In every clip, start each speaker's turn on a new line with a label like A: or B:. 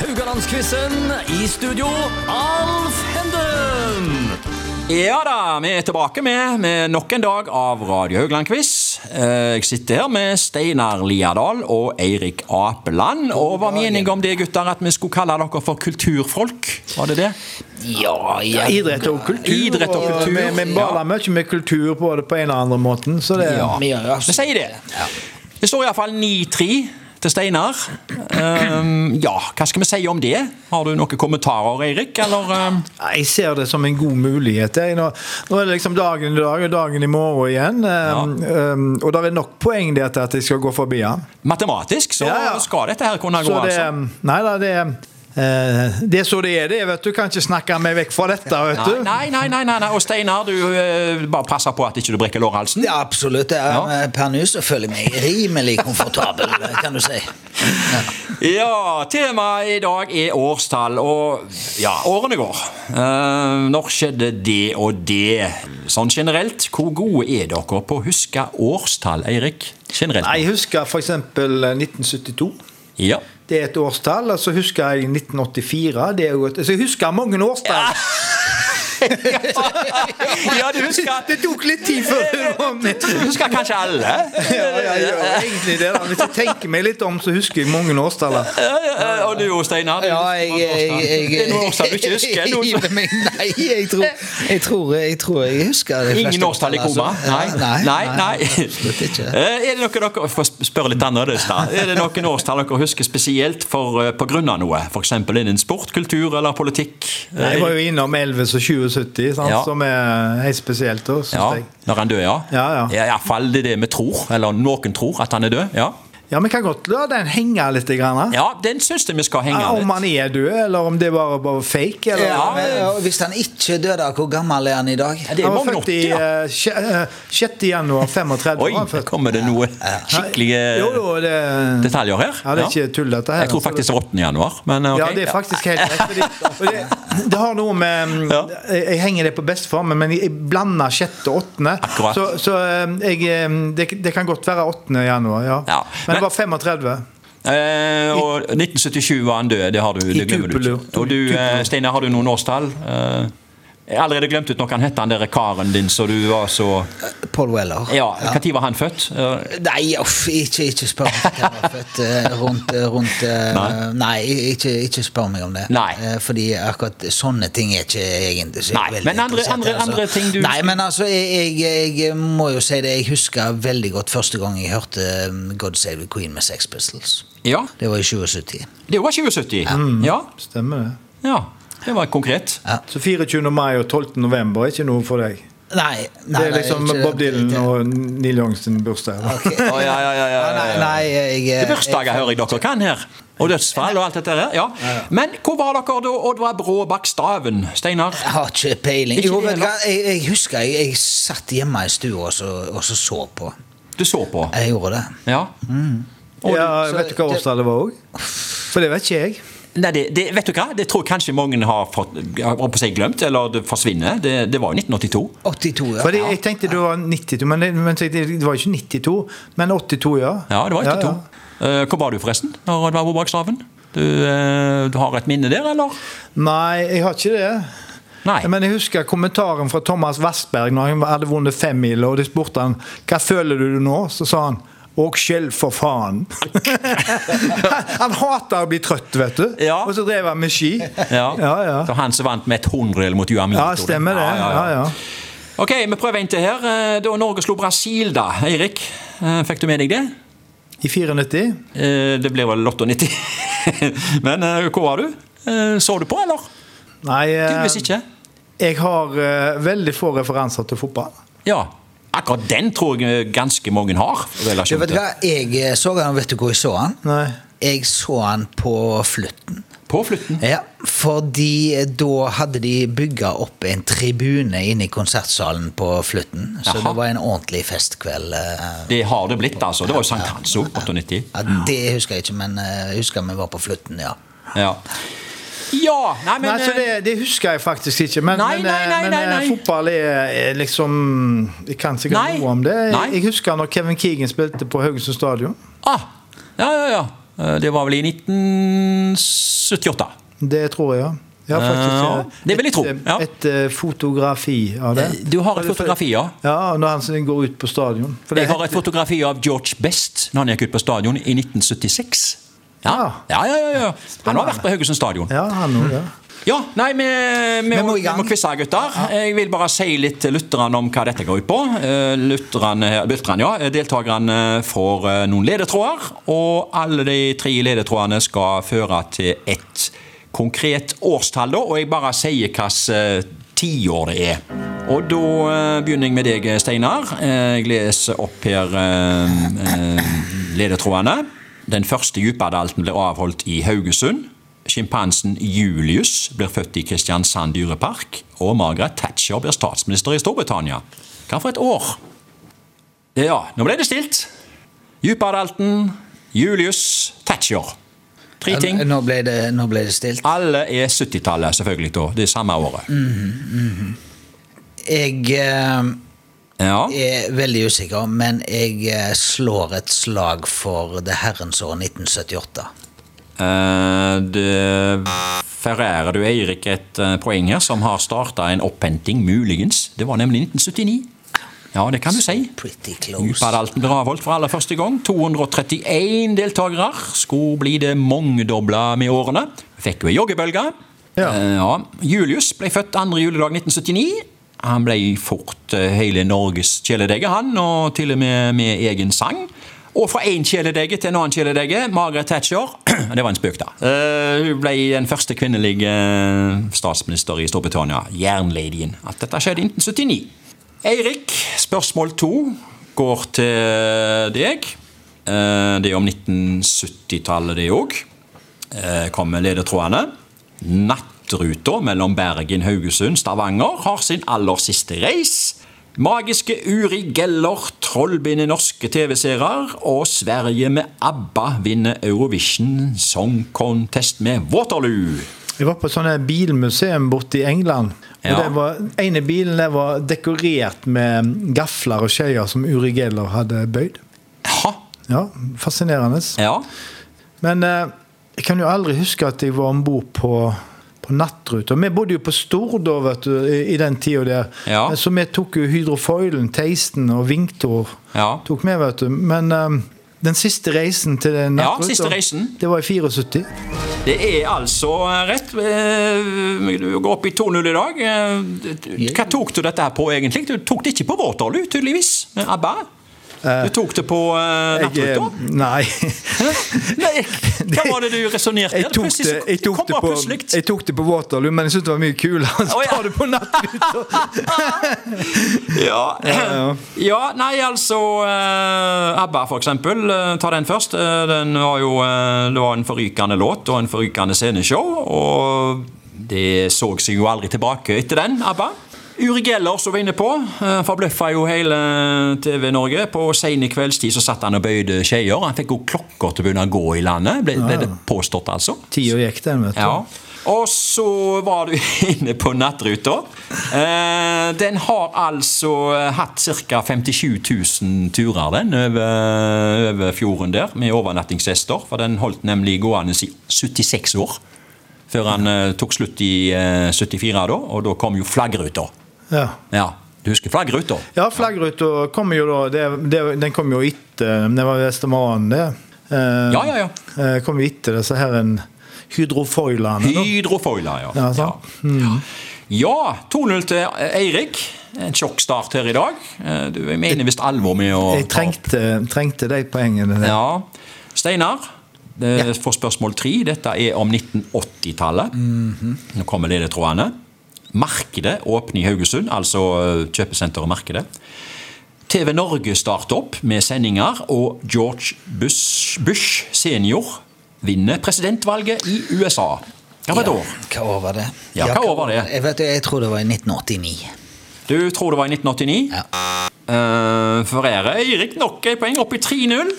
A: Rogalandsquizen i studio, Alf Henden!
B: Ja da, vi er tilbake med, med nok en dag av Radio Haugland-quiz. Eh, Jeg sitter her med Steinar Liadal og Eirik Apeland. Og var vi enige om det, gutter, at vi skulle kalle dere for kulturfolk? Var det det?
A: Ja,
C: Ja, idrett og kultur.
B: Idrett og kultur,
C: Vi, vi baler
B: ja.
C: mye med kultur både på en og andre måten. Så det,
B: Ja.
D: Vi gjør jo altså-
B: Vi sier det. Det står iallfall 9-3 til Steinar. Ehm, ja, hva skal vi si om det? Har du noen kommentarer, Eirik? Eller ehm,
C: Nei, Jeg ser det som en god mulighet. Jeg. Nå, nå er det liksom dagen i dag og dagen i morgen igjen. Um, um, og det er nok poeng der til at jeg skal gå forbi han.
B: matematisk så
C: Ja, ja.
B: skal dette her kunne gå,
C: Så det,
B: altså.
C: nei da, det eh, det er så det er, det. vet Du kan ikke snakke meg vekk fra dette. vet du
B: Nei, nei, nei, nei, nei. Og Steinar, du eh, bare passer på at ikke du brekker lårhalsen.
D: Ja, absolutt. Jeg,
B: Ja.
D: Per nå så føler jeg meg rimelig komfortabel, kan du si. Ja.
B: Ja, temaet i dag er årstall, og ja, årene går. Eh, når skjedde det og det? Sånn generelt, hvor gode er dere på å huske årstall, Eirik? Generelt.
C: Nei, Jeg husker f.eks. 1972.
B: Ja.
C: Det er et årstall. Og så husker jeg 1984. Det er jo et, så jeg husker mange årstall.
B: ja, du husker
C: Det tok litt tid før du var med.
B: Du husker kanskje alle?
C: Ja, ja, ja, egentlig det da. Hvis jeg tenker meg litt om, så husker jeg mange årstaller.
B: Eh, Og du, Steinar? du
D: Ja,
B: husker
D: jeg,
B: mange årstall.
D: jeg, jeg,
B: Det er noen årstall du ikke husker? Noen som-
D: Men Nei, jeg tror jeg, tror, jeg, tror jeg husker de fleste
B: Ingen årstall i koma?
D: altså.
B: Nei.
D: Nei, nei, absolutt
B: Absolutt
D: ikke.
B: Er det noe dere får spørre litt annerledes da Er det noen årstall dere husker spesielt for, eh, på grunn av noe? F.eks. innen sport, kultur eller politikk?
C: Jeg var jo innom Elvis og 2070, sant?
B: Ja.
C: som er helt spesielt. Da, synes
B: Ja,
C: jeg.
B: når han dør, ja.
C: Ja, ja.
B: I hvert fall det er det vi tror, eller noen tror, at han er død. Ja,
C: ja, Vi kan godt la den henge litt. Grann, da.
B: ja den syns jeg vi skal henge
C: om
B: litt.
C: han er død, eller om det bare var fake. Eller?
D: Ja, men, og hvis han ikke døde, hvor gammel er han i dag?
B: Det er
C: Han var
B: mange
C: født i
B: åtti, ja.
C: eh, sje- eh, 6. januar 35.
B: Oi,
C: var han
B: her
C: født.
B: kommer det noe
C: Jo,
B: skikkelige
C: jo, det, ja,
B: detaljer her.
C: det er ikke tull, dette her. altså.
B: Jeg tror faktisk det var 8. januar, men ok.
C: Ja, det er faktisk helt rett. Fordi, og det, det har noe med mm,
B: Ja.
C: jeg, jeg henger det på bestefarmen, men jeg blander sjette og åttende.
B: Akkurat.
C: Så, så eh, jeg, eh, det, det kan godt være 8. januar, ja.
B: Ja,
C: Men
B: men-
C: det var 35.
B: Eh, og 1977 var han død, det, har du, det glemmer du
C: Tupelo.
B: ikke. Og du, eh, Steinar, har du noen årstall? Eh, jeg har allerede glemt ut noe han het, han der karen din, så du var så
D: Paul Weller.
B: Ja, når var han født? Eh,
D: Nei, uff, ikke, ikke spør meg hva jeg var født eh, rundt, eh, rundt eh,
B: Nei.
D: Nei, ikke, ikke spør meg om det.
B: Nei.
D: Eh, Fordi akkurat sånne ting er ikke egentlig så
B: Nei,
D: veldig
B: men andre-
D: interessert i,
B: andre- andre ting du-
D: Nei, men altså, jeg, jeg, jeg må jo si det. Jeg husker veldig godt første gang jeg hørte eh, God Save the Queen med Sex Pistols.
B: ja,
D: Det var i 2070.
B: det var 2070. Ja,
C: Stemmer det.
B: ja, det var konkret.
C: Så 24. mai og 12. november er ikke noe for deg.
D: Nei, nei
C: Det er liksom
D: ikke-
C: Bob Dylan og Neil Young sin bursdag. da.
D: Ok.
B: Å, ja, ja, ja, ja, ja, ja.
D: Nei, nei, jeg, eh,
B: Det er bursdager hører jeg dere kan her. Og dødsfall og alt dette der. Ja. Men hvor var dere da Oddvar Bråbakk Staven, Steinar?
D: Jeg har ikke peiling.
B: Ikke
D: Jo,
B: det
D: vet du hva, jeg, jeg husker jeg, jeg satt hjemme i stua og så, og så så på.
B: Du så på?
D: Jeg gjorde det.
B: Ja. Og du-
C: Ja,
D: så
C: vet du hva
D: det-
C: årstall det var òg? For det vet ikke jeg.
B: Nei, det, det, vet du hva? Det tror jeg kanskje mange har fått, jeg holdt på å si glemt, eller det forsvinner. Det, det var jo 1982.
D: 82, ja.
C: Fordi jeg tenkte det var 92, men det, men det var jo ikke 92, men 82, ja.
B: Ja, det var 82.
C: Ja, ja.
B: Eh, hvor var du forresten når det var bak staven? Du, eh, du har et minne der, eller?
C: Nei, jeg har ikke det.
B: Nei.
C: Men jeg husker kommentaren fra Thomas Westberg når han hadde vunnet femmila, og de spurte han hva føler du nå? Så sa han og skjell for faen. han, han hater å bli trøtt, vet du.
B: Ja.
C: Og så drev han med ski.
B: Ja.
C: ja. ja.
B: Det var han som vant med et hundredel mot Juamito.
C: Ja, stemmer det. Ja, ja.
B: Ok, vi prøver en til her. Eh, Da Norge slo Brasil, da, Eirik. eh, Fikk du med deg det?
C: I 94.
B: Eh, Det blir vel Lotto 90. Men eh, hvor var du? Eh, Så du på, eller?
C: Nei, eh,
B: Tydeligvis ikke.
C: jeg har eh, veldig få referanser til fotball.
B: Ja. Akkurat den tror jeg eh, ganske mange har.
D: Du
B: relasjon
D: vet
B: til.
D: hva, jeg eh, så han, vet du hvor jeg så han?
C: Nei.
D: Jeg så han på Flutten.
B: På flytten.
C: Eh.
D: Ja, fordi eh, da hadde de bygga opp en tribune inne i konsertsalen på Flutten. Så
B: Jaha.
D: det var en ordentlig festkveld. eh.
B: Det har det blitt, altså. Det var jo sankthans òg, 98.
D: Ja, det husker jeg ikke, men eh, jeg husker vi var på Flutten, ja.
B: Ja. ja nei, men
C: Nei, så
B: eh,
C: det, det husker jeg faktisk ikke. Men,
B: Nei,
C: men, eh,
B: nei, nei,
C: men
B: nei,
C: eh,
B: nei.
C: fotball er, er liksom Jeg kan sikkert
B: Nei.
C: noe om det. Jeg,
B: Nei.
C: jeg husker når Kevin Keegan spilte på Haugesund stadion.
B: ah, eh, Ja, ja, ja. Eh, Det var vel i 1978.
C: Det tror jeg, ja. Ja, faktisk,
B: Eh,
C: eh,
B: Ja, det vil jeg tro,
C: Et,
B: ja.
C: et, eh, fotografi av det.
B: Du har et fotografi, ja.
C: Ja, når han går ut på stadion. For
B: Jeg har et fotografi av George Best når han gikk ut på stadion i 1976. Ja,
C: Ah. Ja.
B: ja, ja. ja, ja. Han har vært på Haugesund stadion.
C: Ja, han også, ja.
B: Ja, nei, vi, vi,
D: Vi
B: må,
D: må i
B: vi
D: gang.
B: må quizze, gutter. Jeg vil bare si litt til lytterne om hva dette går ut på. Eh, Lytterne, her- lytterne ja, Deltakerne får eh, noen ledetråder, og alle de tre ledetrådene skal føre til et konkret årstall, da, og jeg bare sier hvilket tiår det er. Og da eh, begynner jeg med deg, Steinar. Eh, Jeg leser opp her eh, eh, ledetrådene. Den første Djupadalten ble avholdt i Haugesund. Sjimpansen Julius blir født i Kristiansand dyrepark, og Margaret Thatcher blir statsminister i Storbritannia. Hva for et år? Ja, nå ble det stilt. Djupadalten, Julius, Thatcher. Tre ting.
D: Nå ble det, nå ble det stilt.
B: Alle er 70-tallet, selvfølgelig, da. Det er samme året.
D: Jeg eh,
B: Ja.
D: er veldig usikker, men jeg eh, slår et slag for det herrens år 1978.
B: Eh, det Ferrerer du Eirik et eh, poeng her, som har starta en opphenting, muligens. Det var nemlig 1979. Ja, det kan du si.
D: Pretty close.
B: Djupadalten ble avholdt for aller første gang. 231 deltakere. Skulle bli det mangedobla med årene. Fikk jo ei joggebølge.
C: Ja.
B: Eh, ja. Julius ble født andre juledag 1979. Han ble fort eh, hele Norges kjæledegge, han, og til og med med egen sang. Og fra én kjæledegge til en annen kjæledegge, Margaret Thatcher Det var en spøk, da. Eh, hun ble den første kvinnelige statsminister i Storbritannia. Jernladyen. At dette skjedde i 1979. Eirik, spørsmål to går til deg. Eh, Det er om 1970-tallet, det òg. Kommer Eh, ledetrådene. Nattruta mellom Bergen, Haugesund, Stavanger har sin aller siste reis. Magiske Uri Geller trollbinder norske TV-seere, og Sverige med ABBA vinner Eurovision Song Contest med Waterloo.
C: Jeg var på et sånt bilmuseum borte i England. Og
B: Ja.
C: det var, ene bilen der var dekorert med gafler og skjeer som Uri Geller hadde bøyd.
B: Ha,
C: Ja, Fascinerende.
B: ja.
C: Men eh, jeg kan jo aldri huske at jeg var om bord på, på nattruta. Vi bodde jo på Stord da, vet du, i, i den tida der.
B: Ja.
C: Så vi tok jo hydrofoilen, teisten og vingtor.
B: Ja.
C: Tok med, vet du. Men eh, den siste reisen til den
B: Ja,
C: nattruta,
B: siste reisen.
C: det var i 74.
B: Det er altså eh, rett eh, Du går opp i 2-0 i dag. Eh, Hva tok du dette her på, egentlig? Du tok det ikke på Waterloo, tydeligvis. med ABBA. Du tok det på eh,
C: Jeg, eh,
B: Nattruta.
C: nei.
B: Nei, hva var det du resonnerte?
C: Jeg tok, det, jeg, tok det på, jeg tok det på Waterloo, men jeg syntes det var mye kulere å
B: Å, ja.
C: ta det på nattruta.
B: Ja. eh.
C: ja.
B: ja, nei, altså eh, ABBA, for eksempel. eh, ta den først. Eh, den var jo eh, Det var en forrykende låt og en forrykende sceneshow. Og det så seg jo aldri tilbake etter den, ABBA. Uri Geller, som vi var inne på, eh, forbløffa jo hele TV-Norge. På sene kveldstid så satt han og bøyde skeier. Han fikk jo klokker til å begynne å gå i landet, ble, ble det påstått, altså.
C: Tida gikk den, vet du.
B: Ja. Sånn. Og så var du inne på nattruta. Eh, den har altså eh, hatt ca. 57 000 turer den over, over fjorden der, med overnattingsgjester. For den holdt nemlig gående i 76 år, før han eh, tok slutt i eh, 74, da. Og da kom jo flaggruta.
C: Ja.
B: Ja, du husker flaggruta?
C: Ja, flaggruta kom jo da det, det, Den kom jo etter Det var Vestermannen, det. Eh,
B: Ja, ja,
C: eh, kom jo etter disse her en hydrofoilene. da.
B: Hydrofoiler, ja.
C: Ja, sant.
B: Ja, 2-0 til eh, Eirik. En sjokk start her i dag. Eh, Du jeg mener visst alvor med å ta
C: Jeg
B: opp
C: trengte, trengte de poengene der.
B: Ja. Steinar, det får spørsmål tre. Dette er om 1980-tallet. Nå kommer ledetrådene. Markedet åpner i Haugesund, altså eh, kjøpesenteret og Markedet. TV Norge starter opp med sendinger, og George Bush, Bush senior vinner presidentvalget i USA. Hva var det da?
D: Hva år var det?
B: Ja, hva år var det?
D: Jeg, vet, jeg tror det var i 1989.
B: Du tror det var i 1989?
D: Ja.
B: Eh, Ferreira Eirik nok et poeng, opp i 3-0.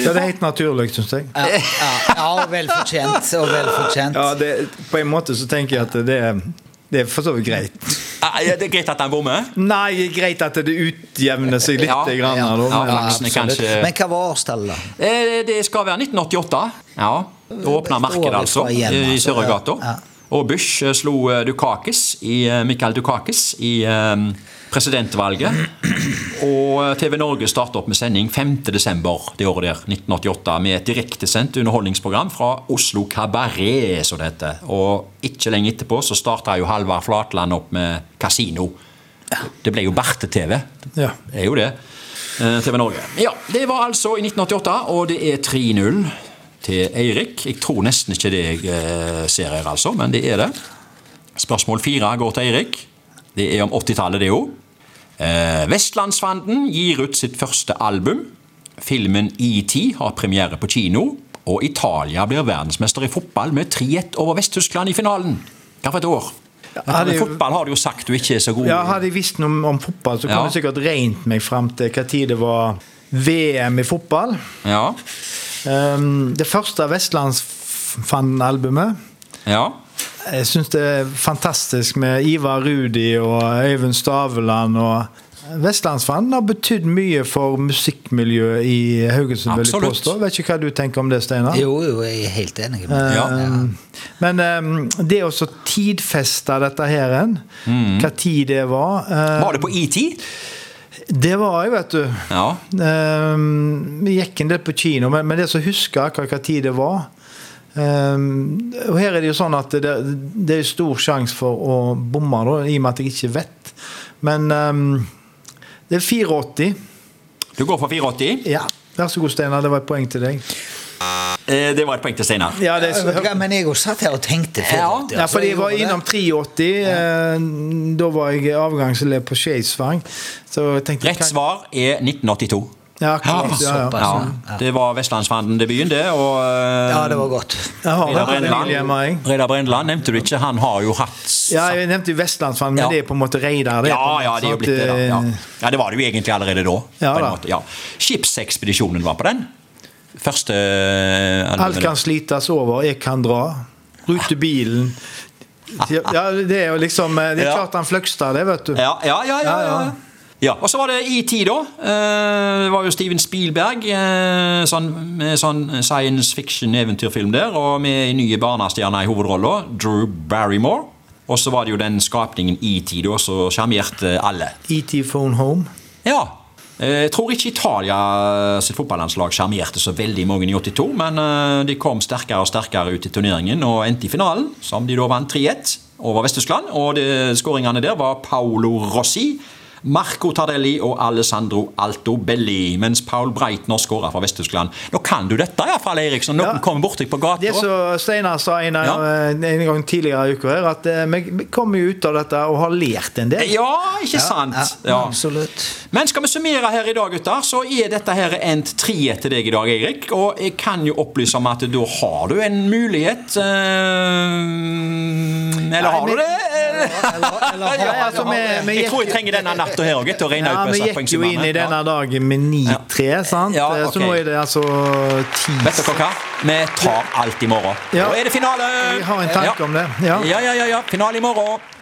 C: Ja, det er helt naturlig, syns jeg.
D: Ja, ja, ja og vel fortjent. Og vel fortjent.
C: Ja, det, På en måte så tenker jeg at det, er- det er for så vidt greit.
B: Nei, Ah, Det er greit at han bommer.
C: Nei, greit at det utjevner seg litt.
B: Ja,
C: grann,
B: ja,
C: da,
B: ja,
C: men-
B: laksen er kanskje-
D: Men hva var årstallet, da?
B: Eh, Det skal være 1988. Ja. Da åpna markedet, altså,
D: Året fra igjen,
B: i
D: altså.
B: Sørøygata.
D: Ja.
B: Og Bush eh, slo eh, Dukakis i, eh, Michael Dukakis i eh, presidentvalget. Og eh, TV Norge startet opp med sending 5.12. det året der, 1988, med et direktesendt underholdningsprogram fra Oslo Kabaret, som det heter. Og ikke lenge etterpå så starta jo Halvard Flatland opp med kasino. Det ble jo Barte-TV.
C: Ja.
B: Det er jo det. Eh, TV Norge. Ja, det var altså i 1988, og det er 3-0 til Eirik. Jeg tror nesten ikke det jeg eh, ser her, altså, men det er det. Spørsmål fire går til Eirik. Det er om 80-tallet, det òg. Eh, Vestlandsfanden gir ut sitt første album. Filmen ET har premiere på kino. Og Italia blir verdensmester i fotball med 3-1 over Vest-Tyskland i finalen. Hva for et år?
C: Ja, det er jo-
B: Fotball har du jo sagt du ikke er så god i.
C: Ja, Hadde jeg visst noe om, om fotball, så kunne
B: Ja.
C: jeg sikkert regnet meg fram til hva tid det var VM i fotball.
B: Ja.
C: Ehm, det første Vestlandsfanden-albumet.
B: ja.
C: Jeg syns det er fantastisk med Ivar Rudi og Øyvind Staveland og Vestlandsfanden har betydd mye for musikkmiljøet i Haugesund. vil jeg
B: Absolutt.
C: påstå. Vet ikke hva du tenker om det, Steinar?
D: Jo, jo, jeg er helt enig. med deg.
B: Ja.
C: Um, Men um, det å så tidfeste dette her en, hva tid det var uh,
B: Mm. Var det på E ET?
C: Det var jeg, vet du.
B: Ja.
C: Um, Vi gikk en del på kino, men, men det som husker akkurat hva tid det var um, Og her er det jo sånn at det, det er stor sjanse for å bomme, da, i og med at jeg ikke vet. Men um, det er 84.
B: Du går for 84.
C: Ja. Vær så god, Steinar. Det var et poeng til deg.
B: Eh, det var et poeng til Steinar.
C: Ja, det
D: Vet du hva, Men jeg òg satt her og tenkte.
B: Ja.
C: Eh, Ja, for jeg var innom 83. eh, Da var jeg avgangselev på Skeisvang. Så jeg tenkte
B: Rett svar er 1982.
C: Ja, akkurat, ja, ja.
D: såpass.
B: Ja, det var Vestlandsfanden-debuten, det. Og eh,
D: Ja, det var godt.
C: Jeg har
B: Reidar
C: vært der nylig hjemme, jeg.
B: Brendeland. Reidar Brendeland nevnte du ikke. Han har jo hatt
C: Ja, jeg nevnte jo Vestlandsvann, men
B: Ja.
C: det er på en måte Reidar. det er
B: ja,
C: på en
B: ja, det er
C: måte, sånn
B: jo
C: sant?
B: blitt det, da. Ja. ja, det var det jo egentlig allerede da.
C: Ja,
B: på en
C: da.
B: måte, ja. Skipsekspedisjonen var på den. Første eh, albumet.
C: Alt kan slites over, jeg kan dra. Rutebilen. Ja, det er jo liksom eh, Det er
B: Ja.
C: klart han Fløgstad, det, vet du.
B: Ja, ja, ja. ja, ja,
C: Ja,
B: ja.
C: ja.
B: Ja, Og så var det ET, da. Eh, Det var jo Steven Spielberg eh, sånn, med sånn science fiction-eventyrfilm der, og med en ny barnestjerne i hovedrolla, Drew Barrymore. Og så var det jo den skapningen ET da, som sjarmerte alle.
C: ET E Phone Home.
B: Ja. Eh, Jeg tror ikke Italia eh, sitt fotballandslag sjarmerte så veldig mange i 82, men eh, de kom sterkere og sterkere ut i turneringen og endte i finalen, som de da vant 3-1 over Vest-Tyskland. Og det- skåringene der var Paolo Rossi, Marco Tardelli og Alessandro Altobelli, mens Paul Breitner skåra for Vest-Tyskland. Nå kan du dette iallfall, Eriksson. Noen
C: Ja.
B: kommer bort deg på gata.
C: Det som Steinar sa en, eh,
B: Ja.
C: en gang tidligere i uka, her, at eh, vi vi kommer jo ut av dette og har lært en del.
B: Ja, ikke sant? Ja.
D: Absolutt.
B: Men skal vi summere her i dag, gutter, så er dette her endt tre til deg i dag, Erik. Og jeg kan jo opplyse om at da har du en mulighet eh, Eller har du
C: men-
B: det?
D: eller-
B: Ja,
C: altså,
B: har du
C: vi-
B: det?
C: vi
B: Jeg tror jeg
C: gikk-
B: trenger denne natta her òg, til å regne
C: Ja,
B: ut
C: vi
B: disse
C: gikk jo inn i
B: poengsummene.
C: denne dagen med 9-3, sant?
B: Ja,
C: Eh,
B: ok.
C: Så nå er det altså 10
B: Vet dere hva? Vi tar alt i morgen.
C: Ja.
B: Da er det finale!
C: Vi har en tanke om det, ja.
B: ja, ja, ja, ja. Finale i morgen.